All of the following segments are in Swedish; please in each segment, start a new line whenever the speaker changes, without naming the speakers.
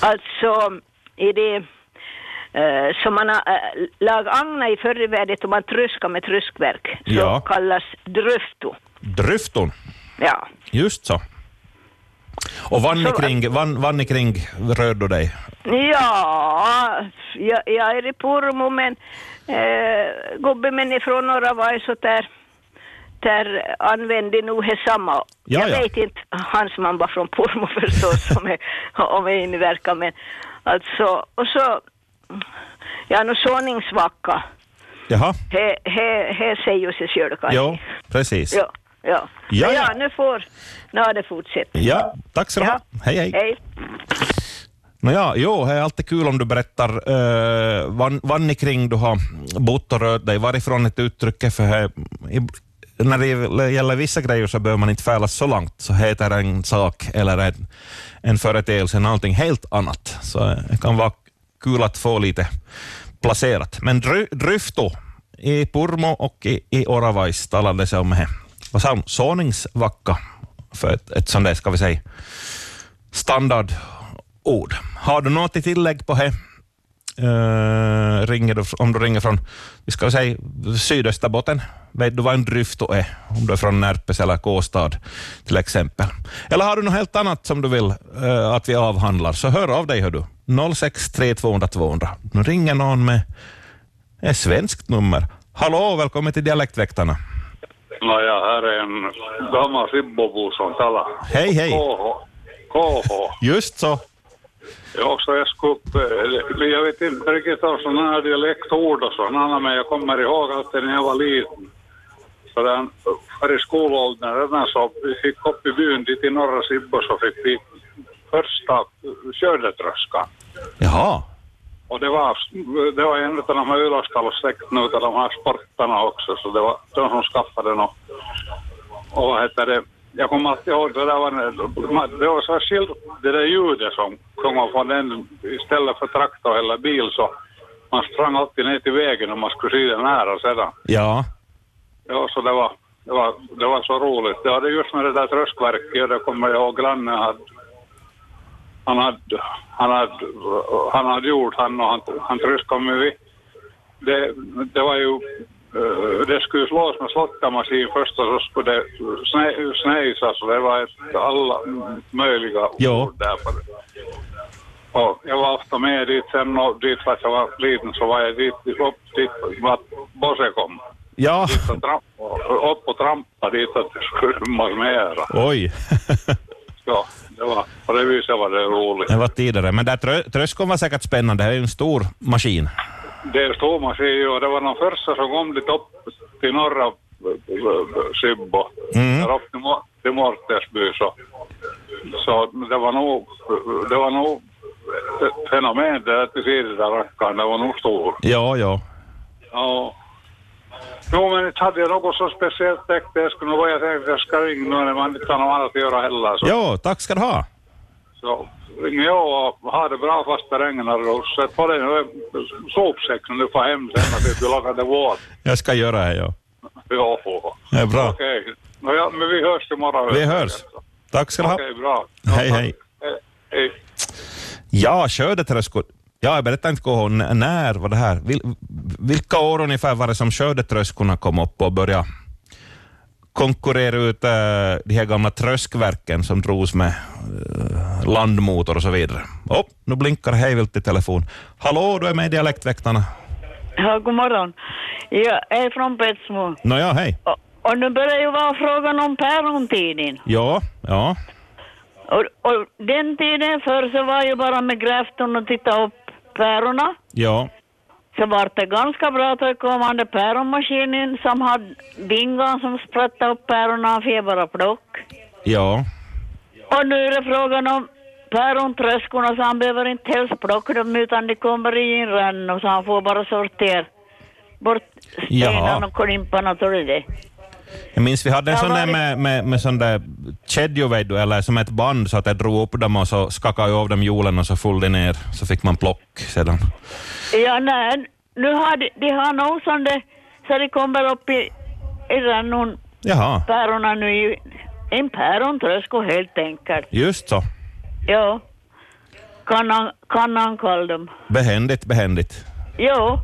alltså är det eh, som man har, eh, lag agna i förrvärdet och man tröskar med tröskverk, så
Ja.
kallas dröfto.
Dryfton.
Ja.
Just så. Och vann ni
Så-
kring, vann, vann ni kring röd och dig?
Ja, jag, jag är i Purmo men eh, gubben ifrån norra var så där, där använde nog he samma.
Ja,
jag
ja.
vet inte han som han var från Purmo förstås som är, om är inverkan men alltså och så ja nu såningsvacka.
Jaha,
He, he, he säger ju sig själv kanske.
jo, precis.
Ja,
Ja,
ja. Men
ja.
ja, nu får, nu har det fortsatt.
Ja, tack så du ha.
Ja.
Hej, hej.
Hej.
Nåja, jo, det är alltid kul om du berättar eh, vann, vann ni kring du har bott och rört dig, varifrån ett uttryck är, för här, i, när det gäller vissa grejer så behöver man inte färdas så långt, så heter en sak eller en, en företeelse någonting helt annat. Så det kan vara kul att få lite placerat. Men dry, dryfto i Purmo och i, i Oravais talades det om här. Vad sa hon? Såningsvacka, för ett, ett sånt där, ska vi säga, standardord. Har du något tillägg på det? Eh, ringer du, om du ringer från vi ska säga, Sydösterbotten, vet du vad en dryfto är? Om du är från Närpes eller Kåstad till exempel. Eller har du något helt annat som du vill eh, att vi avhandlar, så hör av dig. Hör du. 063 200 200. Nu ringer någon med ett svenskt nummer. Hallå, välkommen till Dialektväktarna.
Nåja, här är en gammal fibbobo som talar.
Hej, hej.
KH. KH.
Just så.
Ja, så jag skulle upp... eh, Jag vet inte riktigt av sådana här dialektord och sådana, men jag kommer ihåg att när jag var liten. Så den, här i skolåldern redan så vi fick upp i byn dit i norra Sibbo så fick vi första skördetröskan.
Jaha.
Och det var, det var en av de här Yläskallosläktknutarna, de här sportarna också, så det var de som skaffade den. Och, och vad heter det, jag kommer alltid ihåg det där var, en- det var så här skilt, det där ljudet som kom från den, istället för traktor eller bil så man sprang alltid ner till vägen och man skulle sy den nära sedan.
Ja.
Ja, så det var, det var, det var så roligt. Det hade just med det där tröskverket och det kommer jag ihåg grannen hade han hade, han hade, han hade gjort, han och han, han tröskade mig vid. Det, det var ju, eh, det skulle slås med slottarmaskin först och så skulle det snä, snäsas och det var ett, alla möjliga
Ja.
ord där. på det. Och jag var ofta med dit sen och dit fast jag var liten så var jag dit, upp dit vart Bosse kom
Ja.
och trampa, upp och trampa dit att det skulle man mera.
Oj.
Ja, det var, på det viset var det roligt.
Det var tidigare, men där trö- tröskeln var säkert spännande. Det är ju en stor maskin.
Det stod man sig ju och det var de första som kom dit upp till norra eh, Sibbo,
Mm.
där upp till, Mo- till Mortensby så, så det var nog, det var nog ett fenomen det där till sidan där rackaren, det var nog stor.
Ja, ja.
Ja. Jo, men inte hade jag något så speciellt täckt det skulle nog vara jag tänkte jag ska ringa nu när man inte har något annat att göra heller. Så.
Ja, tack ska du ha.
Så ringer jag och har det bra fast det regnar och sätt på dig sopsäck när du får hem sen och typ du lagar det våt.
Jag ska göra det, ja.
Ja,
Det är bra.
Okej. Nå Ja, men vi hörs imorgon.
Vi hörs. Tack ska du
Okej,
ha.
bra.
Hej, hej.
Eh, Hej.
Ja, skördetröskor. Ja, jag berättade inte KH, n- när var det här? Vil, vilka år ungefär var det som skördetröskorna kom upp och började konkurrera ut äh, de här gamla tröskverken som drogs med eh, landmotor och så vidare? Oh, nu blinkar det hejvilt i telefon. Hallå, du är med i Dialektväktarna.
Ja, god morgon. Jag är från Petsmo.
Nåja, hej.
Och, och nu börjar ju vara frågan om pärontiden.
Ja, ja.
Och, och den tiden förr så var ju bara med gräfton och titta upp pärorna.
Ja,
Så var det ganska bra tillkommande päronmaskinen som hade vingar som sprättade upp pärorna för bara plock.
ja,
Och nu är det frågan om pärontröskorna så han behöver inte helst plocka dem utan de kommer i en ränn och så han får bara sortera bort
Jaha.
stenarna och klimparna och det.
Jag minns vi hade en
Ja,
sån
vad
där
är det?
med, med, med sån där kedjo, vet du, eller som ett band, så att jag drog upp dem och så skakade jag av dem hjulen och så föll de ner, så fick man plock sedan.
Ja, nej. Nu har de, de har nog som det, så det kommer upp i, i rännan,
Jaha,
päronen nu i en pärontrösko helt enkelt.
just så.
Ja. Kan han, kan han kalla dem?
Behändigt, behändigt.
Jo,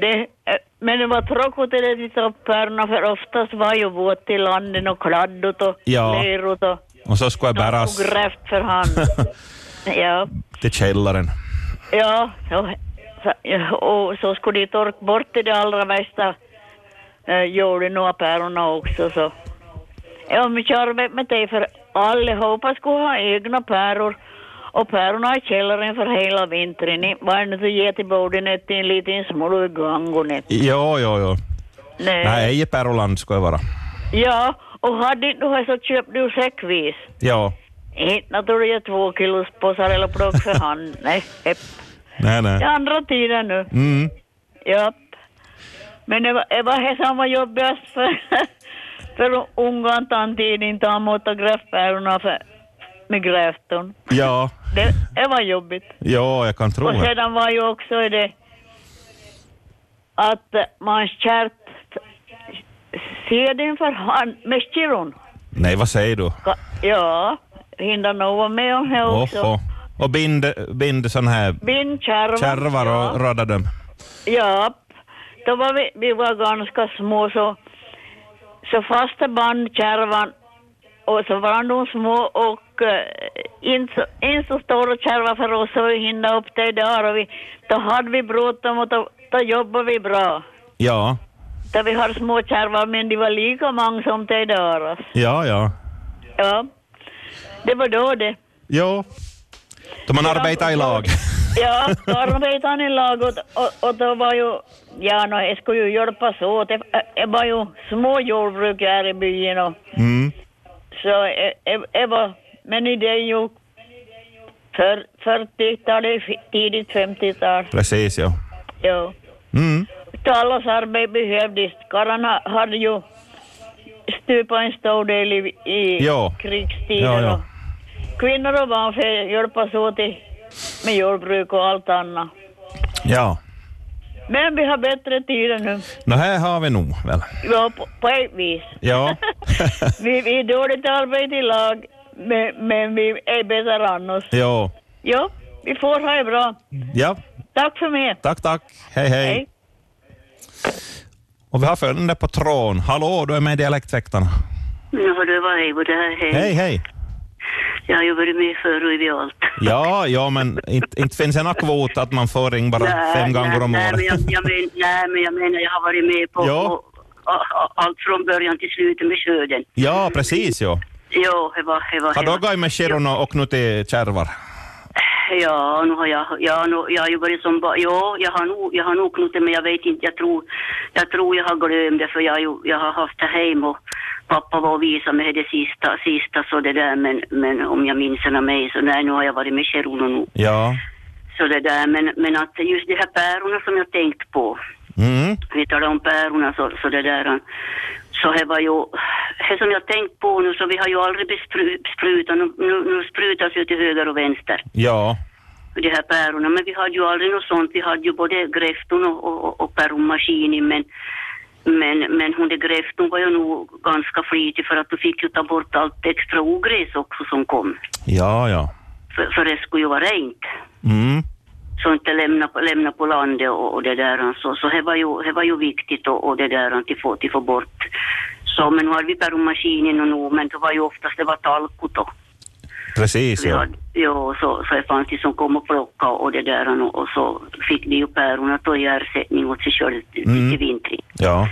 det, eh, men det var tråkigt att de tog upp pärna för oftast var ju våt i landen och kladdut och
Ja.
lerut och
Och så ska jag
de
bäras
tog räft för hand. ja,
till källaren.
ja, och, så- och så skulle de torka bort det allra värsta eh, jorden och pärorna också så. Ja, men charmigt med dig för allihopa skulle ha egna päror och pärorna i källaren för hela vintern. Ni var inte getiborden ett i en liten smulor gangonet.
Jo, jo, jo. Nej, ej i Peroland ska jag vara.
Ja, och hade inte du här så köpte du säckvis.
Ja.
Inte tog jag två kilos påsar eller plock för hand. Nej, hepp.
Nej,
Det
nej.
är andra tiden nu.
Mm.
Ja. Men det var, det var här samma jobbigast för, för ungan tandtid inte han måtte grävpärorna för- med grävton.
Ja,
Det, det var jobbigt.
ja, jag kan tro
Och
det.
sedan var ju också det att man kärt seden för hand med skiron.
Nej, vad säger du?
Ka- Ja, hinner nog vara med om det
Oh,
också.
oh. Och bind, bind sån här
Bindkärvar.
kärvar och röda dem.
Ja, då var vi, vi var ganska små så, så fasta band kärvan och så var de små och eh, inte så- inte så stora kärvar för oss att hinna upp det där och vi, då hade vi bråttom och då, då jobbade vi bra.
Ja,
Då vi har små kärvar men de var lika många som det där. alltså.
ja, ja.
Ja, det var då det.
Jo. Då man arbetar i lag.
Ja, då arbetade han i lag och, och, och då var ju, ja no, jag skulle ju e, hjälpas åt. Det, det var ju små jordbruk här i byn och
Mm.
så det- det- det var, men i det är ju för, 40-talet, fi- tidigt 50-tal.
Precis, ja.
Ja.
Mm.
Allas arbete behövdes. Karan ha- hade ju stupat en stor del i, i no.
Ja.
krigstiden.
Ja, ja.
Och kvinnor och barn fick hjälpas åt i, med jordbruk och allt annat.
Ja.
Men vi har bättre tider nu.
Nå, här har vi nog väl.
Ja, på, på ett vis.
Ja.
Vi, vi är dåligt arbete i lag, men, men vi är bättre än oss.
jo.
Ja, vi får ha det bra.
Ja.
Tack för mig.
Tack, tack. Hej, hej.
Hej.
Och vi har följande på tråden. Hallå, du är med i Dialektväktarna.
Nu har du varit Heibo, det här är hej.
Hej, hej.
Jag har ju varit med förr och i allt.
Ja, ja, men inte, inte finns en kvot att man får ring bara fem gånger om
nej,
året.
Men jag, jag men, nej, men jag menar, jag har varit med på,
Ja.
på, a- a- allt från början till slutet med skörden.
Ja, precis. Ja.
Ja, det var... Det var,
Har
det
du
var-
gått med Kiruna och knutit kärvar?
Ja, nu har jag... Ja, nu, jag har ju varit som... ba- Ja, jag har nog, jag har nog knutit, men jag vet inte. Jag tror jag, tror jag har glömt det, för jag, har ju- jag har haft det hem och pappa var och visade mig det sista, sista så det där, men, men om jag minns henne mig så nej, nu har jag varit med Cheruno nog.
Ja.
Så det där, men, men att just de här päronen som jag tänkt på,
Mm.
vi talar om päronen så, så det där, så här var ju, här som jag tänkt på nu så vi har ju aldrig bespru- sprutat, nu, nu, nu sprutas ju till höger och vänster,
Ja.
de här päronen, men vi hade ju aldrig något sånt, vi hade ju både gräfton och, och, och- och päronmaskinen, men men, men hon där gräfton var ju nog ganska flitig för att du fick ju ta bort allt extra ogräs också som kom.
Ja, ja.
För, för det skulle ju vara rent
Mm.
så inte lämna, på- lämna på landet och, och det där. Så, så det, var ju, det var ju viktigt och, och det där att få, att få bort. Så, men nu hade vi perromaskinen och nog, men det var ju oftast det var talko då.
Precis.
Vi
Ja.
hade, ja, så, så det fanns de som kom och plockade och det där och, och så fick de ju pärorna då i ersättning åt sig själv till,
Mm.
till vintern.
ja.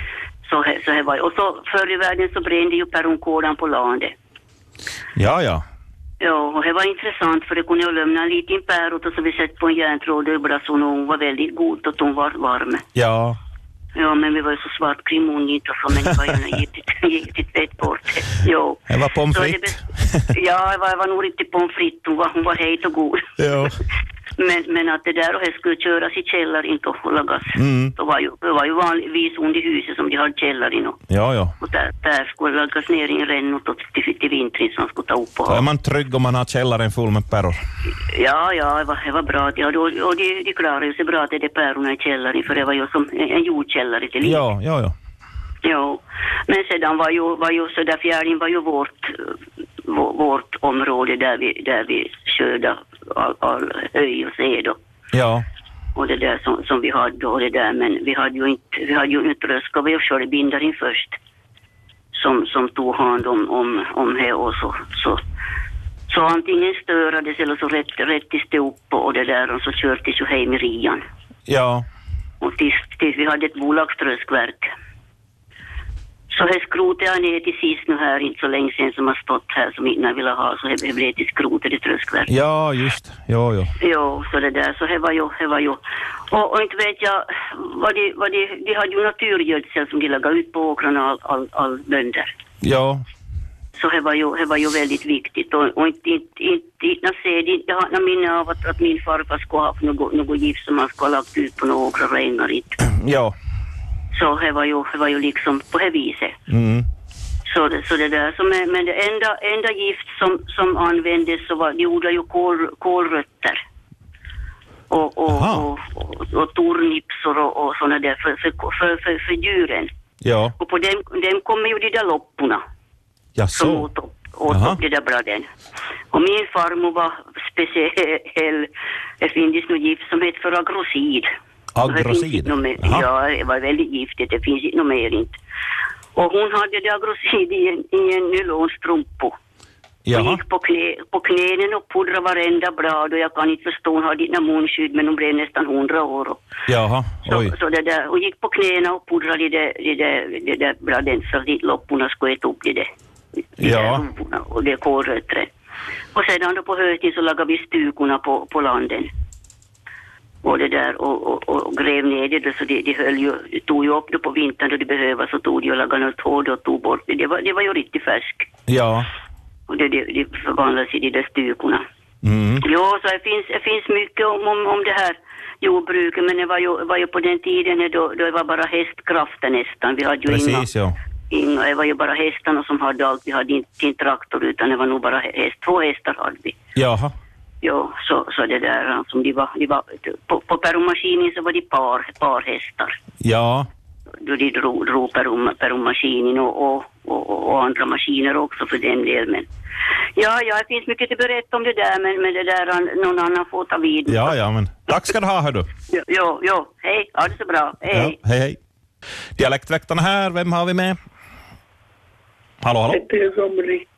Så, he- så det var ju- och så förr i världen så brände ju päronkådan på landet.
Ja, ja.
Ja, och det var intressant för det kunde jag lämna en liten pärot och så vi satt på en järntråd och ibland så hon var väldigt god och hon var varm.
Ja.
Ja, men vi var ju så svart kring munnen inte så, men det var ju riktigt fett bort. Jo.
Det var pommes
Så det
frites.
bäst- Ja, det var, det var nog riktigt pommes frites. Hon var, hon var het och god.
Ja.
Men, men att det där och det skulle köras i källaren, inte och lagas.
Mm.
Det var ju, det var ju vanligtvis under huset som de hade källaren och,
Ja, ja.
och där, där skulle lagas ner i en rännot och till, till vintern som skulle ta upp och
Då är
ha.
man trygg om man har källaren full med päror.
Ja, ja, det var, det var bra. Ja, då, och de, de klarade ju sig bra att det där pärorna i källaren, för det var ju som en, en jordkällare till liv.
Ja, ja, ja.
Jo, men sedan var ju, var ju så där fjärilen var ju vårt, vå- vårt område där vi, där vi skördar all, all höj och säd och,
Ja,
och det där som, som vi hade och det där. Men vi hade ju inte, vi hade ju inte röska vävskördebindare in först. Som, som tog hand om, om, om det och så, så, så antingen störades eller så rätt, rätt i stop och det där och så kördes ju hem i rian.
ja,
Och tills, tills vi hade ett bolagströskverk. Så här skrotet jag ner till sist nu här, inte så länge sedan som har stått här som inte har velat ha, så det blev till skrotet i tröskverk.
ja just. Jo, jo.
Jo, så det där, så det var ju, det var ju. Och, och inte vet jag, vad de, vad de, de hade ju naturgödsel som de lagade ut på åkrarna, all, all, all bönder.
Ja,
Så det var ju, det var ju väldigt viktigt och, och inte, inte, inte, inte, jag ser det, jag har något minne av att, att min farfar skulle ha haft något, något gift som han skulle ha lagt ut på några åkrar och ängar inte.
ja.
Så det var ju, det var ju liksom på det viset.
Mm.
Så det, så det där, så men, men det enda, enda gift som, som användes så var, de odlade ju kål, kålrötter. Och, och,
Aha.
och, och, och tornipsor och, och sådana där för, för, för, för, för djuren.
Ja,
Och på dem, dem kommer ju de där lopporna
ja
som
så.
åt upp, åt
Jaha.
upp det där bladen. Och min farmor var speciell, det finns nog gift som heter för agrosid. Det finns
Agrosid.
inte något mer-
Jaha.
Ja, det var väldigt giftigt, det finns inte något mer inte. Och hon hade det agrosid i en, i en nylonstrumpa. Hon
Jaha.
gick på, knä, på knänen och pudrade varenda blad och jag kan inte förstå, hon hade inte något munskydd men hon blev nästan hundra år. Och
Jaha, oj.
så, så det där, hon gick på knäna och pudrade det, där- det, där- det där bladen så att lopporna skulle äta upp det där. det där
Ja.
rovorna Och det kålrötterna. Och sedan då på hösten så lagade vi stugorna på, på landen. Och det där och, och, och gräv ner det då, så det, det höll ju, det tog ju upp det på vintern då det behövdes så tog det och lagade något hår och tog bort det. Det var, det var ju riktigt färskt.
Ja.
Och det, det, det förvandlades i de där stugorna.
Mm.
Ja, så det finns, det finns mycket om, om, om det här jordbruket, men det var ju, var ju på den tiden när då, då det var bara hästkrafter nästan. Vi hade ju inga,
Precis, ja.
inga, det var ju bara hästarna som hade allt. Vi hade inte, inte traktor utan det var nog bara häst. Två hästar hade vi.
Jaha.
Ja, så, så det där, alltså, de var, de var, på, på perromaskinen så var det par, par hästar.
Ja.
Då de drog, drog perom- perromaskinen och, och, och, och andra maskiner också för den delen. Men, ja, ja, det finns mycket att berätta om det där, men, men det där, någon annan får ta vid.
Ja, ja, men tack ska du ha, hördu.
Jo, jo, jo. hej, ha det så bra. Hej.
Ja, hej, hej. Dialektväktarna här, vem har vi med? Hallå, hallå?
Ett ögonblick.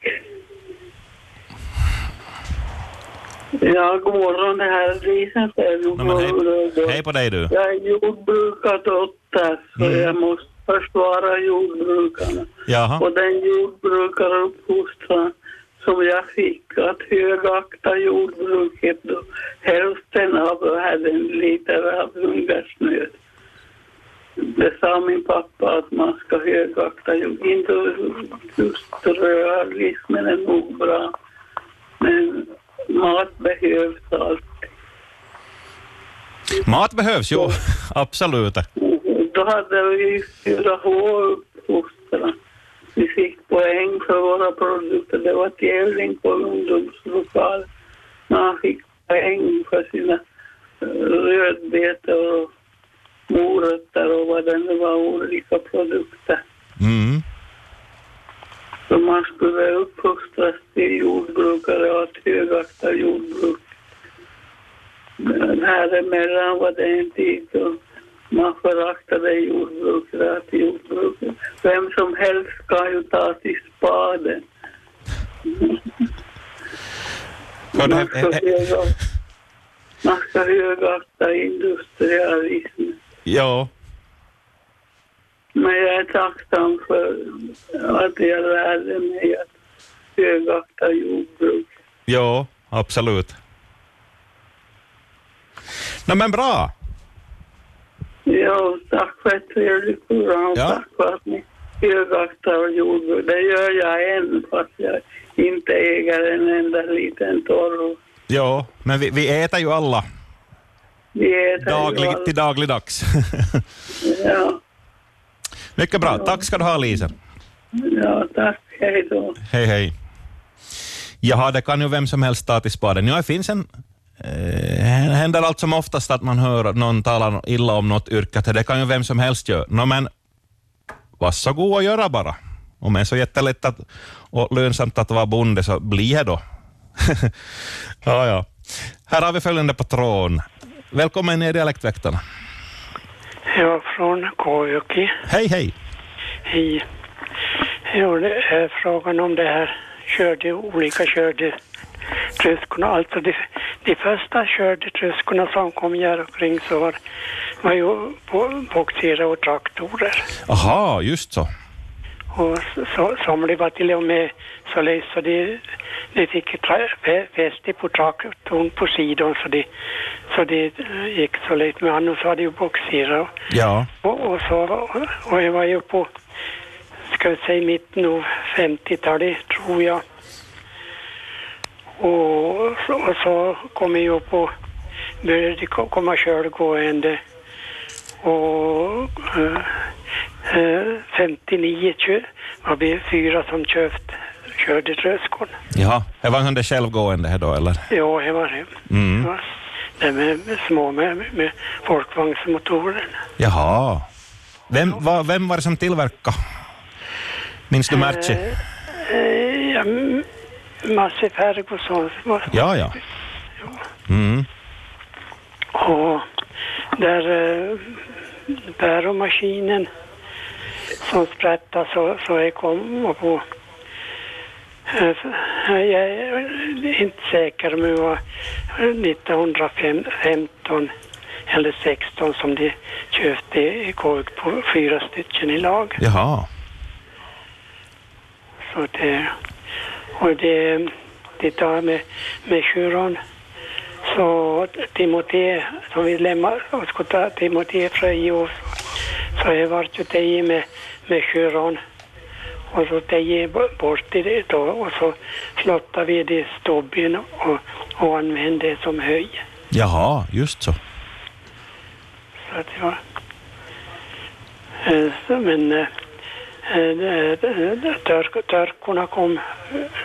Ja, god morgon. Det här är Lisa Stenholm
No, men hej,
från Luleå.
hej på dig du.
Jag är jordbrukardotter, så
Mm.
jag måste försvara jordbrukarna.
Jaha.
Och den jordbrukaruppfostran som jag fick att högakta jordbruket då hälften av världen lider av hungersnöd. Det sa min pappa att man ska högakta jord. Inte just rörlismen är nog bra, men mat behövs alltid.
Mat behövs, jo. Absolut.
Då hade vi fyra H uppfostran. Vi fick poäng för våra produkter. Det var tävling på ungdomslokal. Man fick poäng för sina eh, rödbetor och morötter och vad det nu var, olika produkter.
Mm.
Så man skulle uppfostras till jordbrukare och att högakta jordbruk. Men här emellan var det en tid då man föraktade jordbrukare, att jordbrukare. Vem som helst kan ju ta till spaden.
Hördu,
Man
he-
ska,
he- he-
höga, man ska högakta industrialismen.
ja.
Men jag är tacksam för att jag lärde mig att högakta jordbruk.
Ja, absolut. Nej men bra.
Ja, tack för ett trevligt program och
Ja.
tack för att ni högaktar jordbruk. Det gör jag än fast jag inte äger en enda liten torv.
Ja, men vi, vi äter ju alla
Vi äter ju
daglig,
allt.
till dagligdags.
Ja,
Mycket bra. Tack ska du ha, Lisa.
ja, tack. Hej då.
Hej, hej. Jaha, det kan ju vem som helst ta till spaden. Ja, det finns en... Eh, händer allt som oftast att man hör någon tala illa om något yrke, att det kan ju vem som helst göra. Nå men, varsågod och göra bara. om det är så jättelätt att, och lönsamt att vara bonde, så bli det då. ja, ja. Här har vi följande patron. Välkommen i Dialektväktarna.
Jag är från Kåjoki.
Hej, hej.
Hej. Jo, det är frågan om det här körde, olika körde tröskorna. Alltså de, de första körde tröskorna som kom här omkring så var, var ju på- boxerade och traktorer.
Aha, just så.
Och så, somliga var till och med så lejs så de, de fick tra- fä- fäste på traktorn på sidan så de, så de eh, gick så lätt med annars så hade ju boxerat.
Ja.
Och, och, så, och jag var ju på, ska vi säga mitten av 50-talet tror jag. Och, så- och så kom jag ju på, började det ko- komma körgående. Och eh, eh, 59 kö- var vi fyra som köpt, körde tröskorn.
Jaha. Det var han det självgående här då, eller?
Ja, det var det.
Mm.
Ja. Det med, med små med, med- med folkvagnsmotorer.
Jaha. Vem, va, vem var det som tillverkade? Minns du Merci?
Eh, ja, m- Masse Ferguson.
Ja, ja. Mm.
Och där eh, bäromaskinen som sprättade så, så jag kom på. eh, Jag är inte säker men det var 1915 eller 16 som de köpte i kork på fyra stycken i lag.
Jaha.
Så det, och det, det tar med, med tjuren. Så Timote, som vi lämnar, och ska ta Timote Fröjo, så har jag varit ute i med, med tjuren. Och så tog bort bort i det då och så slottade vi det i stubben och, och använde det som höj.
Jaha, just så.
Så att jag... Eh, så- Men eh, eh, eh, törk, törkorna kom,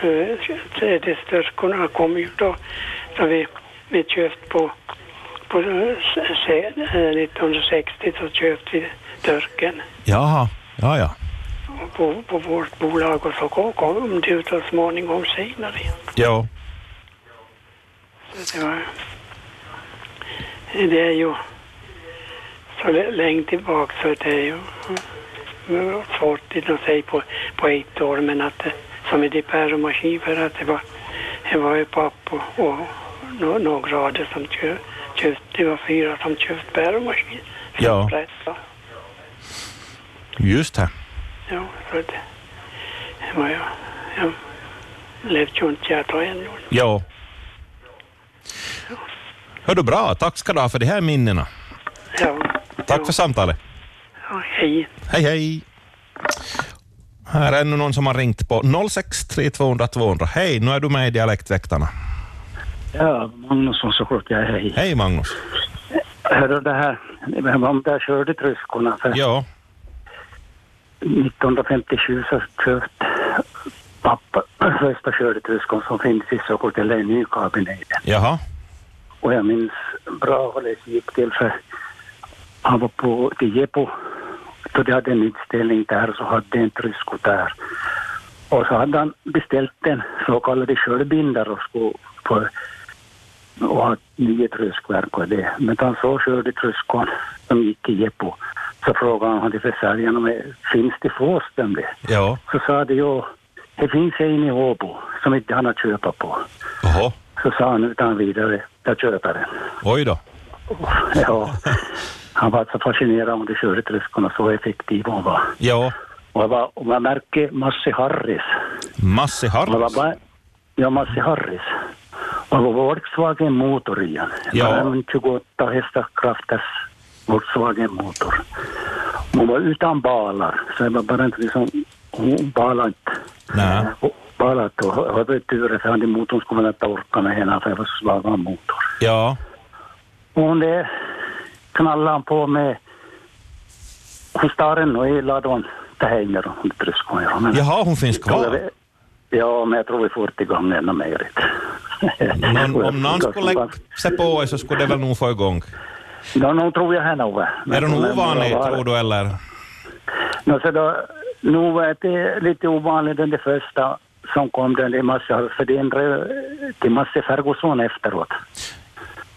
eh, eh, sädestörkorna kom ju då, så vi, vi köpte på, på eh, se- eh, 1960 så köpte vi törken
Jaha. Ja, ja.
på, på vårt bolag och så kom, kom det ut så småningom senare.
Jo.
Så det var... Det är ju så lä- länge tillbaka så det är ju mm, svårt att säga på, på ett år men att det, som i Dipero för att det var, det var ju pappa och, och no- några av det som kö- köpte, det var fyra som köpte bäromaskin.
Ja. Just det.
Ja, så det, det var ju, jag levde ju inte jag då ännu.
Jo. Hör du bra. Tack ska du ha för de här minnena.
Ja,
Tack för samtalet.
ja, hej.
Hej, hej. Här är ännu någon som har ringt på 063 200 200. Hej, nu är du med i Dialektväktarna.
Ja, Magnus från Sollefteå, jag hej.
Hej Magnus.
Hörru det här, vem var där körde tröskorna för?
Ja.
1957 så köpte pappa första skördetröskan som finns i Sollefteå, eller i Nykarleby.
Jaha.
Och jag minns bra vad det gick till för han var på till Jeppo. Så de hade en utställning där så hade en trysko där. Och så hade han beställt en så kallade skördbindare och skulle på och ha nio tryskverk och det. Men han såg skördetryskan som gick i Jeppo. Så frågade han till försäljaren om det finns det fås dem det.
Ja.
Så sa de ja, det finns en i Åbo som inte han har köpa på.
Jaha.
Så sa han utan vidare, jag köper den.
Oj då.
Ja, han var så fascinerad om de körde tröskorna, så effektiv hon var.
Ja.
Och jag, var, och jag märkte Massi Harris.
Massi
Och jag
Harris.
bara, ja, Massi Harris. Och det var Volkswagen motor i den. Det
Ja.
var en 28 hästar krafters Volkswagen motor. Hon var utan balar, så det var bara inte liksom, hon balade inte.
Nej.
Balat och jag hade tur för han i motorn skulle man inte orka med henne för jag var så svag av motorn.
Ja.
Hon det knallade han på med gitarren och eladon till hänger och tryskon. Men,
Jaha, hon finns
Jag
kvar.
vet- Ja, men jag tror vi får igång ännu mer.
Någon, om någon skulle lägga sig på er så skulle det väl nog få igång.
Ja, nog tror jag henne.
Är hon ovanlig tror du eller?
No, så då, Nu var det lite ovanligt den det första som kom, den det massa, för det ändrade eh, till Masse Ferguson efteråt.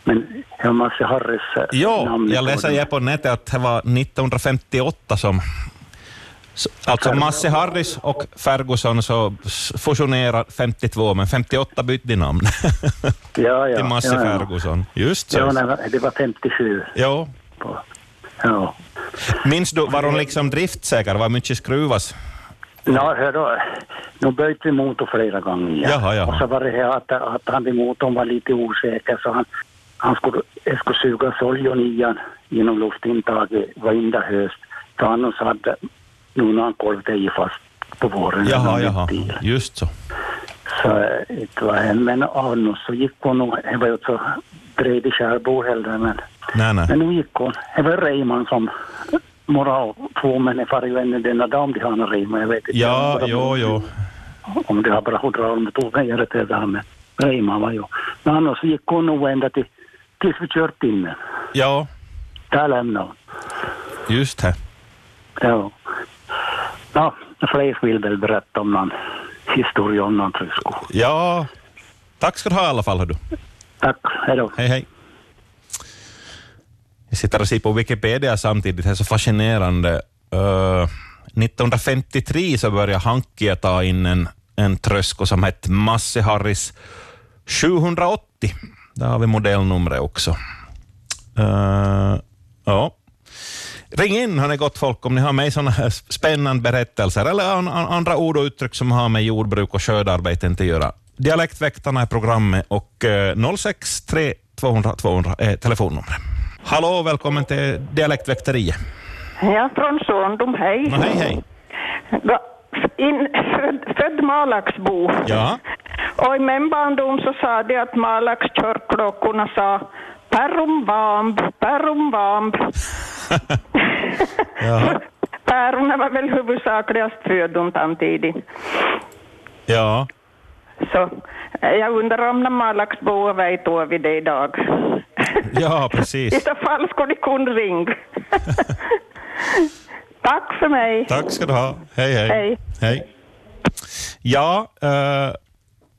Men det var Masse Harris eh,
Jo,
namn.
jag läser ju på nätet att det var 1958 som... s- Alltså Masse Harris och Ferguson så s- fusionerade 52, men 58 bytte de namn
Ja, ja.
till Masse
ja, ja.
Ferguson. Just
Ja,
så.
nej, det var 57.
Jo.
Ja.
Minns du, var hon liksom driftsäker? Var mycket skruvas?
Nå, hörru, nu bytte vi motor flera gånger.
Jaha, jaha.
Och så var det här att, att han i motorn var lite osäker så han, han skulle, jag skulle suga soljon i han genom luftintaget varenda höst. Så han hade nu när han kolvde i fast på våren.
Jaha, jaha. Just så.
Så eh, det var en, men annars så gick hon nog, det var ju inte så bred i Kärrbo heller men
Nej, nej.
men nu gick hon. Det var Reiman som moral två men jag far ju ännu denna dag om de har någon Reiman. Jag vet inte
Ja,
om de-
jo, jo.
om de har bara hydraulmetoder gör det där med Reiman var ju. Men annars gick hon nog ända till, tills vi kört in den.
Ja,
Där lämnade hon.
just det.
Ja. Ja, fler vill väl berätta om någon historia om någon trysko.
Ja. Tack ska du ha i alla fall. hör Du.
Tack, hej då.
Hej, hej. Jag sitter och ser på Wikipedia samtidigt, det är så fascinerande. Eh, 1953 så började Hankia ta in en, en trösko som hette Masse Harris 780. Där har vi modellnumret också. Eh, ja. Ring in, hörni gott folk, om ni har med sådana här spännande berättelser eller an, an, andra ord och uttryck som har med jordbruk och skördearbeten att göra. Dialektväktarna är programmet och eh, 063 200 200 är eh, telefonnumret. Hallå, välkommen till Dialektväkteriet.
Ja, från Sondom, hej.
No, hej, hej.
Va- In, född, född Malaxbo.
Ja,
Och i min barndom så sa de att Malax körklockorna sa Pärum vamb, pärum vamb.
ja,
Päronen var väl huvudsakligast födon samtidigt.
ja.
Så eh, jag undrar om när Malaxboa vet då vid det idag.
ja
I
precis.
så fall skulle de kunna ringa. Tack för mig.
Tack ska du ha. Hej, hej.
Hej.
hej. Ja, eh,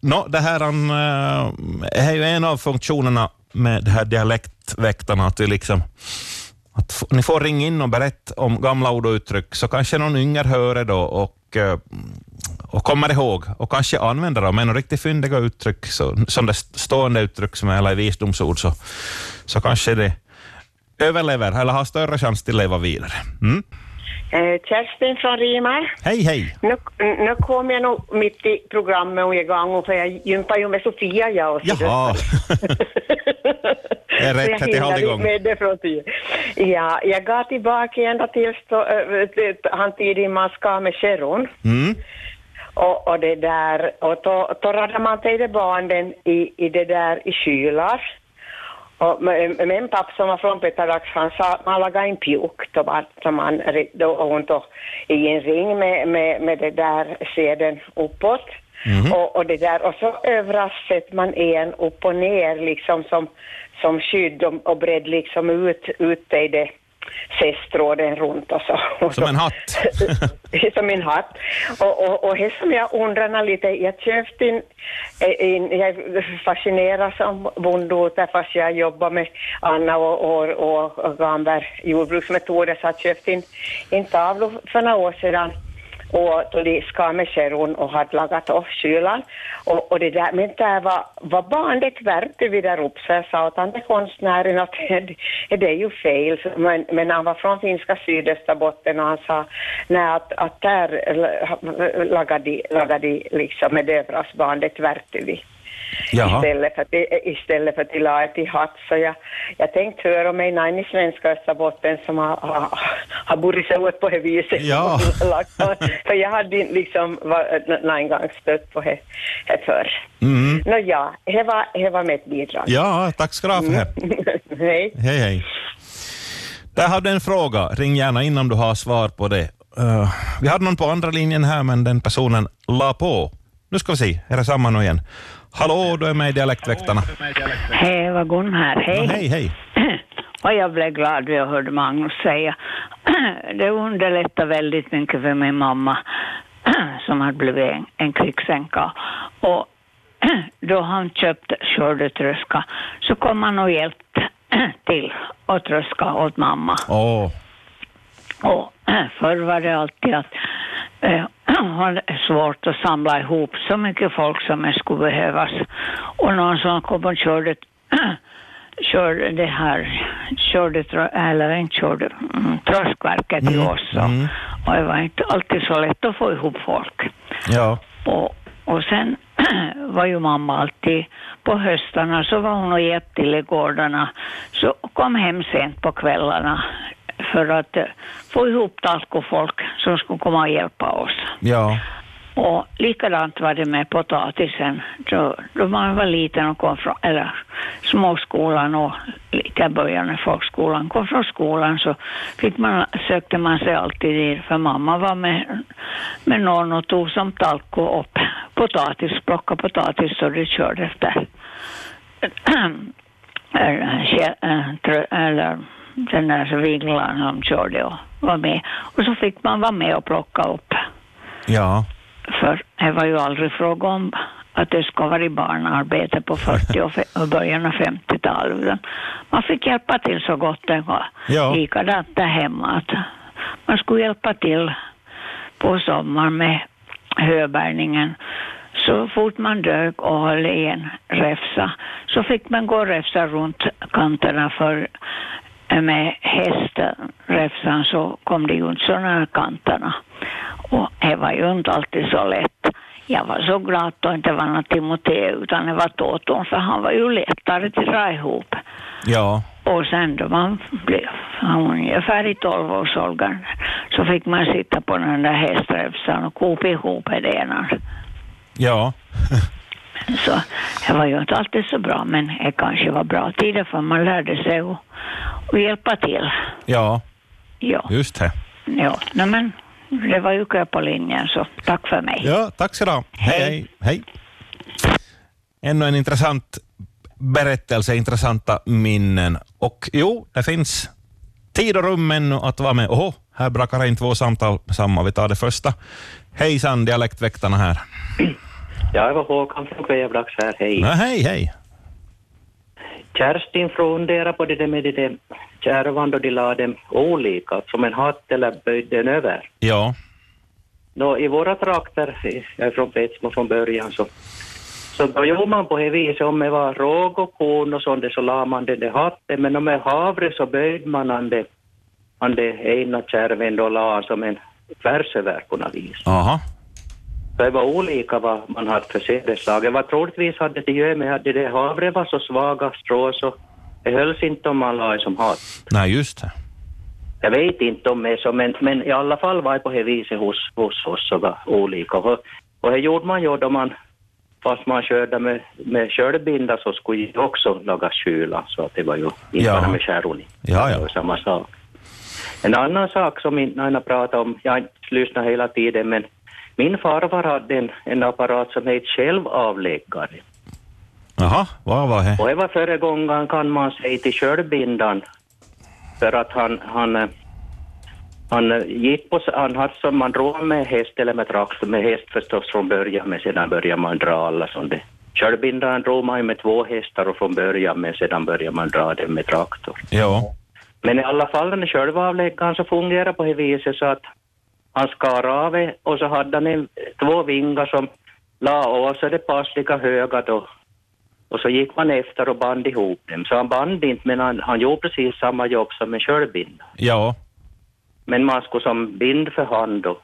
nå, det här an, eh, är ju en av funktionerna med det här dialektväktarna, att, vi liksom, att f- ni får ringa in och berätta om gamla ord och uttryck, så kanske någon yngre hör det då och, eh, och kommer ihåg och kanske använder dem. Är det riktigt fyndiga uttryck, så, som det st- stående uttryck som är, eller visdomsord, så, så kanske det överlever eller har större chans till att leva vidare. Mm.
Eh, Kerstin från Rimar.
Hej, hej!
Nu, nu kom jag nog mitt i programmet och igång för jag gympar ju med Sofia jag. Och så-
Jaha. det är
så
rätt
jag
att jag
hinner
håller
inte
igång.
med det från tid. Ja, jag går tillbaka ända tills då, eh, till- han tidig man ska med Sharon.
Mm.
Och, och det där, och då, då radade man till banden i, i det där i kylar. Och men- men min pappa som var från Petarax, han sa att man lagar en pjuk då man, då man ri- då, och hon då, i en ring med, med, med det där seden uppåt.
Mhm.
Mm.
Och, och det där, och så överraskade man en upp och ner liksom som, som skydd och, och bredd liksom ut, ut i det sästråden runt och så.
Som en hatt.
som min hatt. Och, och, och här som jag undrar lite, jag köpte en, en jag fascineras av bondåter fast jag jobbar med Anna och, och, och, och Gamberg jordbruksmetoder så jag köpte en, en tavla för några år sedan och då de skar med skäron och hade lagat av kylan. Och, och det där, men där var, var bandet värpte vi där upp så jag sa åt han till konstnären att det, det är ju fel. Så- Men, men han var från finska sydösterbotten och han sa nej att, att där la- lagade de, lagade de liksom med dövrassbandet värpte vi.
Jaha.
Istället för, att- istället för att la ett i hatt. Så jag, jag tänkte höra mig någon i svenska Österbotten som har, har, har burit sig åt på det viset.
Ja.
för jag hade inte liksom var- n- någon gång stött på det det förr.
Mm.
Nåja, det var, det var mitt bidrag.
Ja, tack ska du ha för det.
Hej.
Hej, hej. Där har du en fråga. Ring gärna in om du har svar på det. Eh, vi hade någon på andra linjen här, men den personen la på. Nu ska vi se, är det samma nu igen? Hallå, du är med i Dialektväktarna.
Hej, det var Gun här. Hej.
Ja, hej, hej.
Och jag blev glad när jag hörde Magnus säga. Det underlättade väldigt mycket för min mamma som hade blivit en, en krigsänka. Och då han köpte skördetröska så kom han och hjälpte till och tröska åt mamma.
Åh,
Och förr var det alltid att eh, var det svårt att samla ihop så mycket folk som det skulle behövas. Och någon som kom och körde, körde det här, körde, trö- eller inte körde, mm, tröskverket i oss.
Mm.
Och det var inte alltid så lätt att få ihop folk.
Ja.
Och, och sen var ju mamma alltid på höstarna så var hon och hjälpte till i gårdarna. Så kom hem sent på kvällarna för att eh, få ihop allt och folk som skulle komma och hjälpa oss.
ja.
Och likadant var det med potatisen. Då, då man var liten och kom från, eller småskolan och lika i början av folkskolan, kom från skolan så fick man, sökte man sig alltid dit för mamma var med, med någon och tog som talko upp potatis, plockade potatis så det körde efter eller, kä- eh, trö- eller den där viglan som körde och var med. Och så fick man vara med och plocka upp
Ja.
för det var ju aldrig fråga om att det ska vara i barnarbete på 40 och, fe- och början av 50-talet. utan Man fick hjälpa till så gott det var.
Ja.
Likadant där hemma. Att man skulle hjälpa till på sommaren med höbärningen. Så fort man dög och höll i en räfsa så fick man gå och räfsa runt kanterna för eh, med hästräfsan så kom det ju inte så nära kanterna. Och det var ju inte alltid så lätt. Jag var så glad att det inte var någon Timoteo utan det var Toton för han var ju lättare att dra ihop.
Ja.
Och sen då man blev ungefär i tolvårsåldern så fick man sitta på den där hästräfsan och kopa ihop det ena.
Ja.
Så det var ju inte alltid så bra men det kanske var bra tider för man lärde sig att, att hjälpa till.
Ja.
Ja,
Just det.
ja. Nej, men det var ju kö på linjen så tack för mig.
Ja, tack så du Hej. Hej. Hej. Ännu en intressant berättelse, intressanta minnen. Och jo, det finns tid och rum ännu att vara med. Oho, här brakar in två samtal samma. Vi tar det första. Hejsan, dialektväktarna här.
Ja, det var Håkan från Kvävlax här, hej.
Ja, hej, hej.
Kerstin funderar på det där med det där kärvan då de la dem olika, som en hatt eller böjde den över.
Ja,
Nå, i våra trakter, i- jag är från Petsmo från början, så, så då gjorde man på det viset, om det var råg och korn och sånt där, så la man den där hatten, men om det var havre så böjde man an det, an det ena kärven då la som en tvärs över på något vis.
aha.
Så det var olika vad man hade för sädesslag. Det var troligtvis hade det ju med att det där havre var så svaga strå så det hölls inte om man la det som hatt.
Nej, just det.
Jag vet inte om det är så, men, men i alla fall var det på det viset hos, hos oss så var olika. Och, och det gjorde man ju då man, fast man körde med, med körbinda så skulle ju också laga kyla, så att det var ju inte
Ja.
bara med kärron.
Ja, ja.
Det var samma sak. En annan sak som inte Aina pratade om, jag har inte lyssnat hela tiden, men min farfar hade en, en apparat som hette självavläggare.
Aha, vad var det?
Och det var föregångaren kan man säga till körbindan. För att han, han, eh, han eh, gick på, s- han hade som man drog med häst eller med traktor, med häst förstås från början men sedan började man dra alla som det. Körbindan drog man ju med två hästar och från början men sedan började man dra den med traktor.
Ja,
Men i alla fall den självavläggaren så fungerade på det viset så att han skar av det och så hade han en, två vingar som la av så det passliga höga då. Och så gick man efter och band ihop dem. Så han band inte men han, han gjorde precis samma jobb som en körbinda.
ja,
Men man skulle som bind för hand då.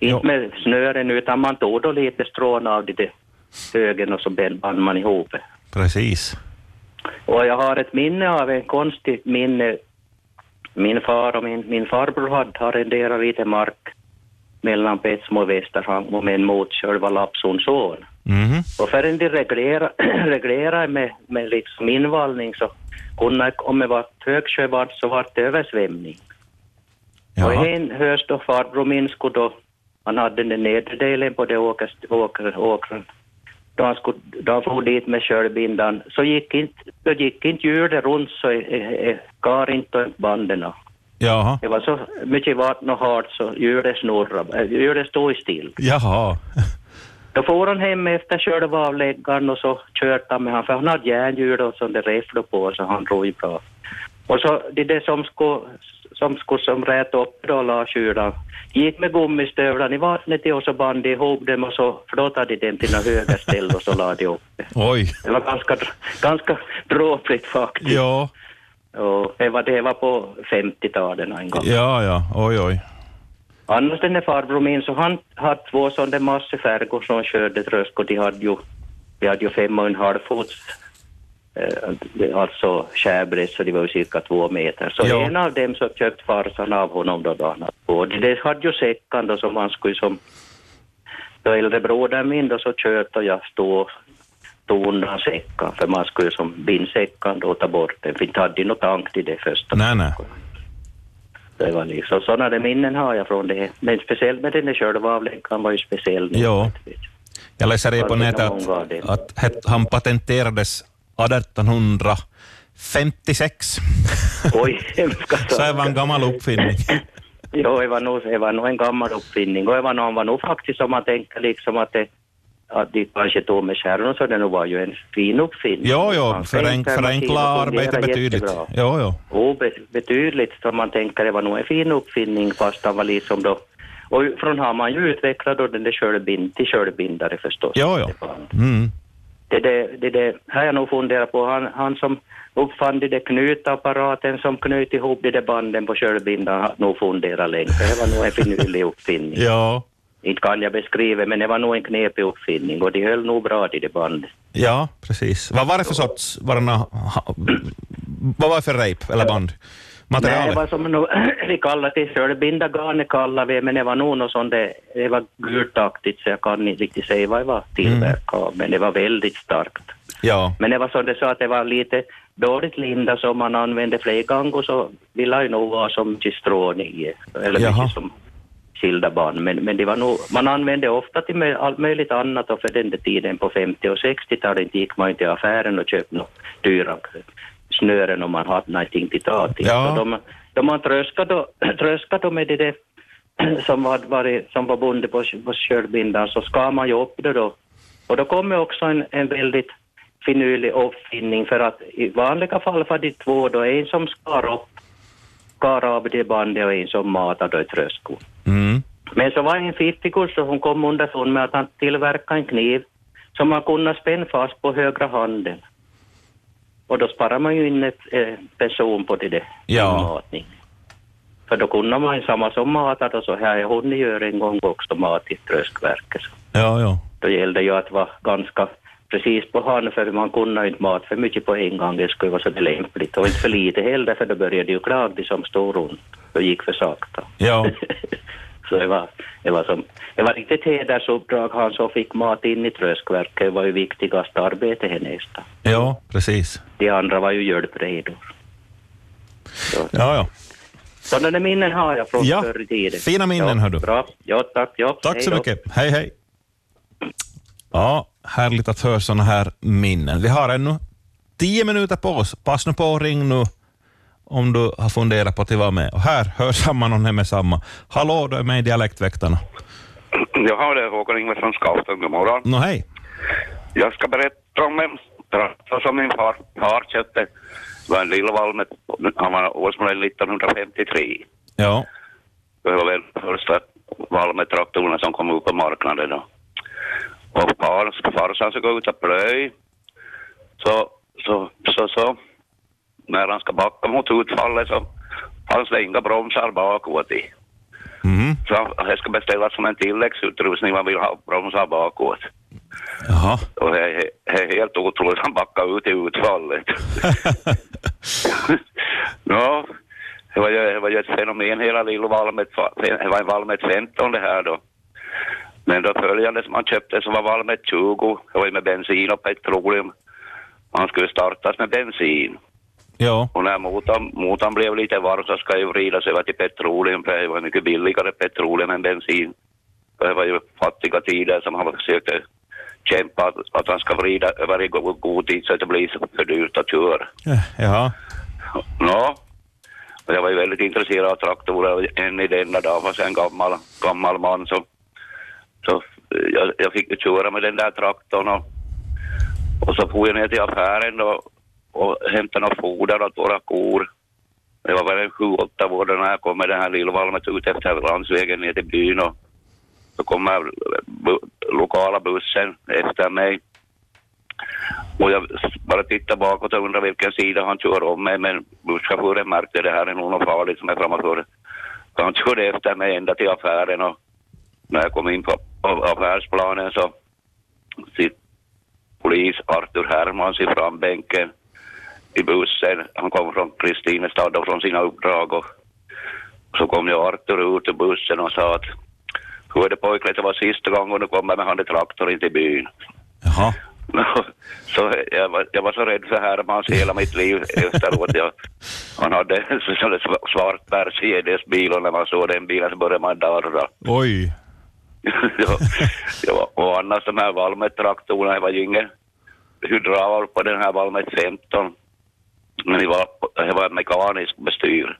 Inte
med snören utan man tog då lite strån av det där högen och så band man ihop det.
precis.
Och jag har ett minne av en konstigt minne. Min far och min, min farbror hade arrenderat lite mark mellan Petsmo och Västerhamn och min motkör var Lapsundsson.
Mhm.
Och förrän de reglera- reglerade med, med liksom invallning så kunde, om det var högsjö var- så var det översvämning. Och en höst då farbror min skulle då, han hade den nedre delen på det åkers- åker, åkern, då han, skulle, då han for dit med körbindan, så gick inte, då gick inte hjulet runt så eh, eh, kar inte banden.
Jaha.
Det var så mycket vatten och hårt så hjulet snurrade, eh, hjulet stod still.
Jaha.
Då får han hem efter själva avläggaren och så körde han med han för han hade järnhjul och sån där räfflor på så han drog ju bra. Och så det, det som skulle som, skulle, som rät upp då larskjulan gick med gummistövlarna i vattnet i och så band de ihop dem och så flottade de dem till något höga ställe och så la de upp det.
Oj.
Det var ganska, dr- ganska dråpligt faktiskt.
Ja.
Och det var, det var på 50-talet en gång.
Ja, ja. Oj, oj.
Annars den där farbror min, så han hade två sådana massefärger som han körde trösk och de hade ju, de hade ju fem och en halv fots, eh, det- alltså skärbrädd, så de var ju cirka två meter. Så
Ja.
en av dem så köpte farsan av honom då, då han hade två. De de hade ju säckan då som han skulle som, då äldre brodern min då så köpte jag stå tog undan säckan, för man skulle ju som binda säckan då och ta bort den, för inte hade de någon tank till det först.
Nej, nej.
Det var liksom, sådana där minnen har jag från det. Men speciellt med den där skördavläggaren var ju speciell.
Ja. Jag läser det på nätet att, att het- han patenterades 1856.
Oj,
Så det var en gammal uppfinning.
Jo, det var nog, det var nog en gammal uppfinning och det var nog, var nog faktiskt om man tänker liksom att det att de kanske tog med kärnor så det nog var ju en fin uppfinning.
Jo, jo,
Man tänker
förenkla,
att
förenkla
maskinen fungerar
arbetet betydligt.
jättebra.
Jo, jo.
Jo, be, betydligt som man tänker. Det var nog en fin uppfinning fast han var liksom då... Och från har man ju utvecklat då den där köldbind, till köldbindare förstås.
Jo, jo. Mm.
Det, det, det, det har jag nog funderat på. Han, han som uppfann det där knutapparaten som knöt ihop det där banden på köldbindan har nog funderat länge. För Det var nog en finurlig uppfinning.
Ja.
Inte kan jag beskriva, men det var nog en knepig uppfinning och de höll nog bra i det bandet.
Ja, precis. Vad var det för sorts? Var det nå- ha- vad var det för rejp eller band?
Nej, det
Materialet?
var som nog, vi kallar det skörbindagarn, kallar vi men det var nog något sånt där, det var gultaktigt så jag kan inte riktigt säga vad det var
Mm.
tillverkat av, men det var väldigt starkt.
Ja.
Men det var som det sa att det var lite dåligt linda som man använde flera gånger och så ville ju nog vara som till strån i, eller
Jaha.
mycket som skilda band, men, men det var nog, man använde ofta till mö- allt möjligt annat och för den där tiden på 50 och 60-talet gick man ju till affären och köpte något dyra snören om man hade någonting till ta till.
Ja.
Så de, de man tröskade, då- tröskade då med det där som var, varit, som var bundet på, på köldbindan så skar man ju upp det då. Och då kommer också en, en väldigt finurlig uppfinning för att i vanliga fall var det två då, en som skar upp, skar av det bandet och en som matade i tröskor.
Mm.
Men så var det en fittikus som kom underfund med att han tillverkade en kniv som man kunde spänna fast på högra handen. Och då sparar man ju in ett eh, person på det där
Ja.
matning. För då kunde man ju samma som matade och så här. Jag hunnit göra en gång också mat i tröskverket. Så
Ja, ja.
Då gällde ju att vara ganska precis på hand för man kunde ju inte mat för mycket på en gång. Det skulle vara så där lämpligt. Och inte för lite heller för då började ju klag de som stod runt. Då gick för sakta.
Ja.
Så det var, det var, som, det var riktigt hedersuppdrag han som fick mat in i tröskverket. Det var ju viktigaste arbetet hennes.
Ja, precis.
De andra var ju hjälpredor.
Ja, ja.
Sådana där minnen har jag från
Ja,
förr i tiden.
fina minnen,
ja,
hör du.
Bra. Ja, tack. Ja,
Tack
hej
så
då.
mycket. Hej, hej. Ja, härligt att höra såna här minnen. Vi har ännu tio minuter på oss. Pass nu på och ring nu om du har funderat på att vara med. Och här, hör samman och med samma. Hallå, du är med i Dialektväktarna.
Jaha, det är Håkan Ingvarsson, scouten. God morgon.
Nå, hej.
Jag ska berätta om en traktor som min far, far köpte. Det var en lilla valmet. Han var årsmodell 1953.
Ja.
Det var väl första valmetraktorerna som kom upp på marknaden då. Och fars, farsan ska gå ut och plöj. Så, så, så, så. När han ska backa mot utfallet så fanns det inga bromsar bakåt i. Så det ska beställas som en tilläggsutrustning, man vill ha bromsar bakåt.
Jaha.
Och det är, det är helt otroligt, han backade ut i utfallet. ja, det var, ju, det var ju ett fenomen hela Lillovalmet, det var en Valmet 15 det här då. Men då följande som han köpte så var Valmet 20, det var ju med bensin och petroleum. Han skulle startas med bensin.
Ja.
Och när motorn, motorn blev lite varm så ska ju vridas över till petroleum, för det var mycket billigare petroleum än bensin. För Det var ju fattiga tider som han försökte kämpa att, att han ska vrida över i go- god tid så att det blir så för dyrt att köra.
Jaha.
Nå, och jag var ju väldigt intresserad av traktorer än i denna dag, fast jag är en gammal, gammal man så, så eh, jag, jag fick ju köra med den där traktorn och, och så for jag ner till affären då och hämtade något foder åt våra kor. Jag var väl en sju, åtta år då när jag kom med den här lillvalmet ut efter landsvägen ner till byn och så kom jag, eh, bu- lokala bussen efter mig. Och jag bara tittade bakåt och undrade vilken sida han kör om mig, men busschauffören märkte det här är nog något farligt som är liksom framför. Så han körde efter mig ända till affären och när jag kom in på på affärsplanen så sitter polis Arthur Hermans i frambänken i bussen. Han kom från Kristinestad och från sina uppdrag och så kom ju Arthur ut ur bussen och sa att hörde pojken, det var sista gången du kommer med han i traktor in till byn. Så jag var, jag var så rädd för Hermans hela mitt liv efteråt. Jag, han hade en sån där sv- svart Mercedes-bil och när man såg den bilen så började man darra.
Oj.
ja, ja, och annars de här Valmet-traktorerna, jag var ju ingen hydraul på den här Valmet 15. Men det var, det var en mekanisk bestyr.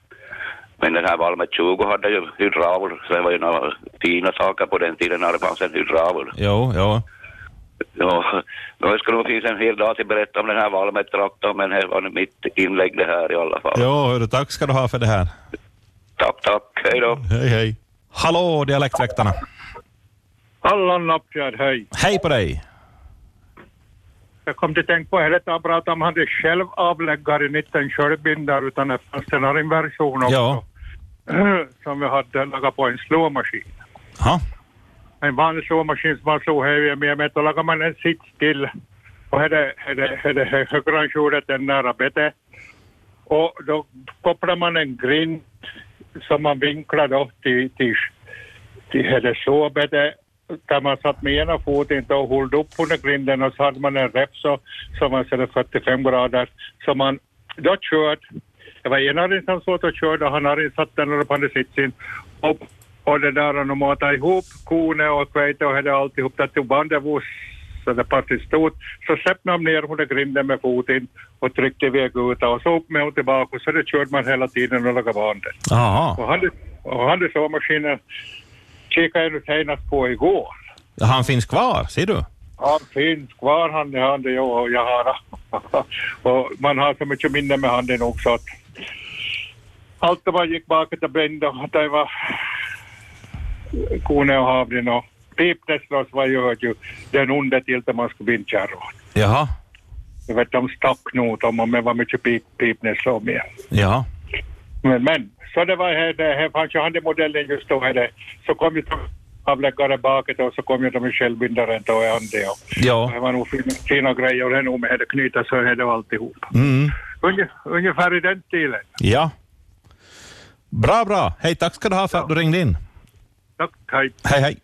Men den här Valmet 20 hade ju hydraul, så det var ju några fina saker på den tiden när det fanns en hydraul.
Jo, jo.
Ja, det skulle nog finnas en hel dag till att berätta om den här Valmet-traktorn, men det var nu mitt inlägg det här i alla fall.
Jo, hörru, tack ska du ha för det här.
Tack, tack. Hej då.
Hej, hej. Hallå, dialektväktarna.
Allan Lappjärd, hej.
Hej på dig.
Jag kom till tänka på hela tiden prata om han hade själv avläggare, inte en sköldbindare utan det fanns en annan version också.
Ja.
eh.
Som vi hade lagat på en slåmaskin.
Ja.
En vanlig slåmaskin som man slog här med, men då lagade man en sits till. Och här är här är- här är- här är högransjordet är nära bettet. Och då kopplar man en grind som man vinklar då till, till, till här är såbettet där man satt med ena foten inte och höll upp under grinden och så hade man en repso som var sådär 45 grader som man då körde. Det var ena arren som satt och körde och han arren satt där uppe under sitsen och, och det där och de matade ihop kornet och kväte och hade alltihop. Det tog bandet vos så det parti stort. Så släppte de ner under grinden med foten och tryckte iväg ut och så upp med och tillbaka och så det körde man hela tiden och lagade bandet.
Jaha.
Och hade, och hade såmaskinen kikade jag nu senast på igår.
Han finns kvar, ser du.
Han finns kvar, han är handen jag och jag har. och man har så mycket minne med handen också att allt det man gick bakåt och brände och det var kone och havren och pipnässlås var ju, hörde ju den onda till där man skulle binda kärran.
Jaha.
Jag vet de stack nog om men var mycket pip, pipnässlor med.
Ja.
Men, men så det var här, det här fanns ju handemodellen just då. Här, det. så kom ju de avläggare bakåt och så kom ju de i självbindaren då i handen. och-
Ja.
Det var nog fina, fina grejer det nog med hade knyta så hade och alltihop.
Mm.
Unge, ungefär i den stilen.
Ja. Bra, bra. Hej, tack ska du ha för att du ringde in.
Tack, hej.
Hej, hej.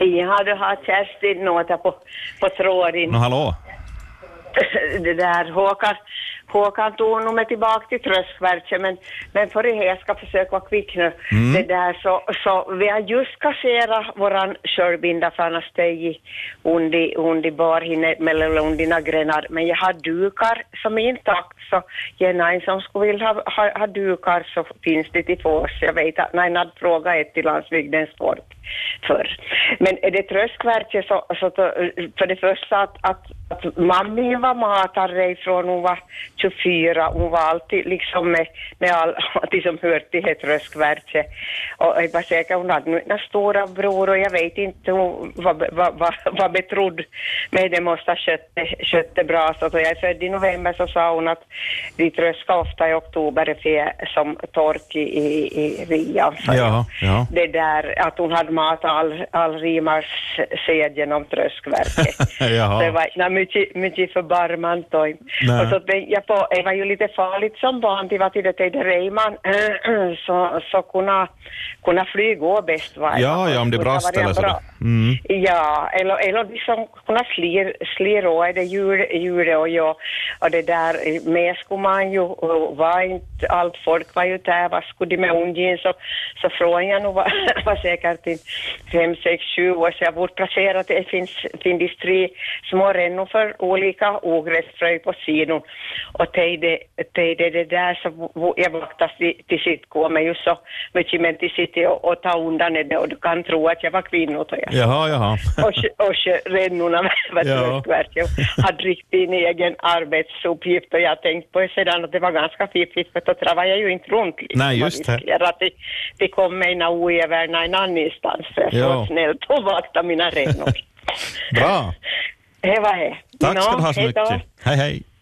Ja, du har Kerstin något på, på tråden.
Nå, hallå.
det där Håkan, Håkan tog nog mig tillbaka till tröskverket men, men för det här ska jag försöka vara kvick nu.
Mm.
Det där så, så vi har just kasserat våran körbinda för annars steg under, under barhinne mellan under grenar men jag har dukar som är intakt så jag någon som skulle vilja ha, ha, ha dukar så finns det till fås. Jag vet att någon hade frågat ett till landsbygdens folk förr. Men är det tröskverket så, så då, för det första att, att, att mammi var matare ifrån hon var 24, hon var alltid liksom med, med all, alltid som hör till det tröskverket. Och jag var säker hon hade nu en stora bror och jag vet inte hon var, var, var, var betrodd med det måste ha skött det- skött det bra. Så då jag är född i november så sa hon att vi tröskar ofta i oktober för jag är som tork i, i, i rian. sa jag
Ja, ja.
det där att hon hade matat all, all Rimars sed genom tröskverket.
Jaha.
Det var inte mycket, mycket förbarmant då.
Nej.
Och så tänkte jag på, det var ju lite farligt som barn, det var till det där Reiman, så, så kunna, kunna flyga bäst va?
Ja, ja, om det
Och så var
brast eller
en
så
bra-
där.
嗯
Mm.
Ja, eller, eller liksom kunna slir, slirråade djur, djur och, jag, och det där, med skulle man ju och var inte, allt folk var ju där, vad skulle de med ungen så, så frågan jag nog var, var säkert i fem, sex, sju år så jag borde placera att det finns, finns tre små rännor för olika ogräsfrö på sidan och till det, till det, det där så vo- jag vaktas till, till sitt gå men just så mycket men till sitt och, och ta undan det och du kan tro att jag var kvinna och jag
Jaha, jaha.
och, kö- och kö- rännorna
Ja.
var tröskvärt. Jag hade riktigt en egen arbetsuppgift och jag tänkte på det sedan att det var ganska fiffigt för då travade jag ju inte runt. liksom.
Nej, just det.
Man riskerar Att det, det kom mig när oäverna en annanstans för jag
Ja.
var snällt och vakta mina rännor.
Bra.
Det var det.
Tack ska
Nå,
du ha så
hej då.
mycket. Hej, hej.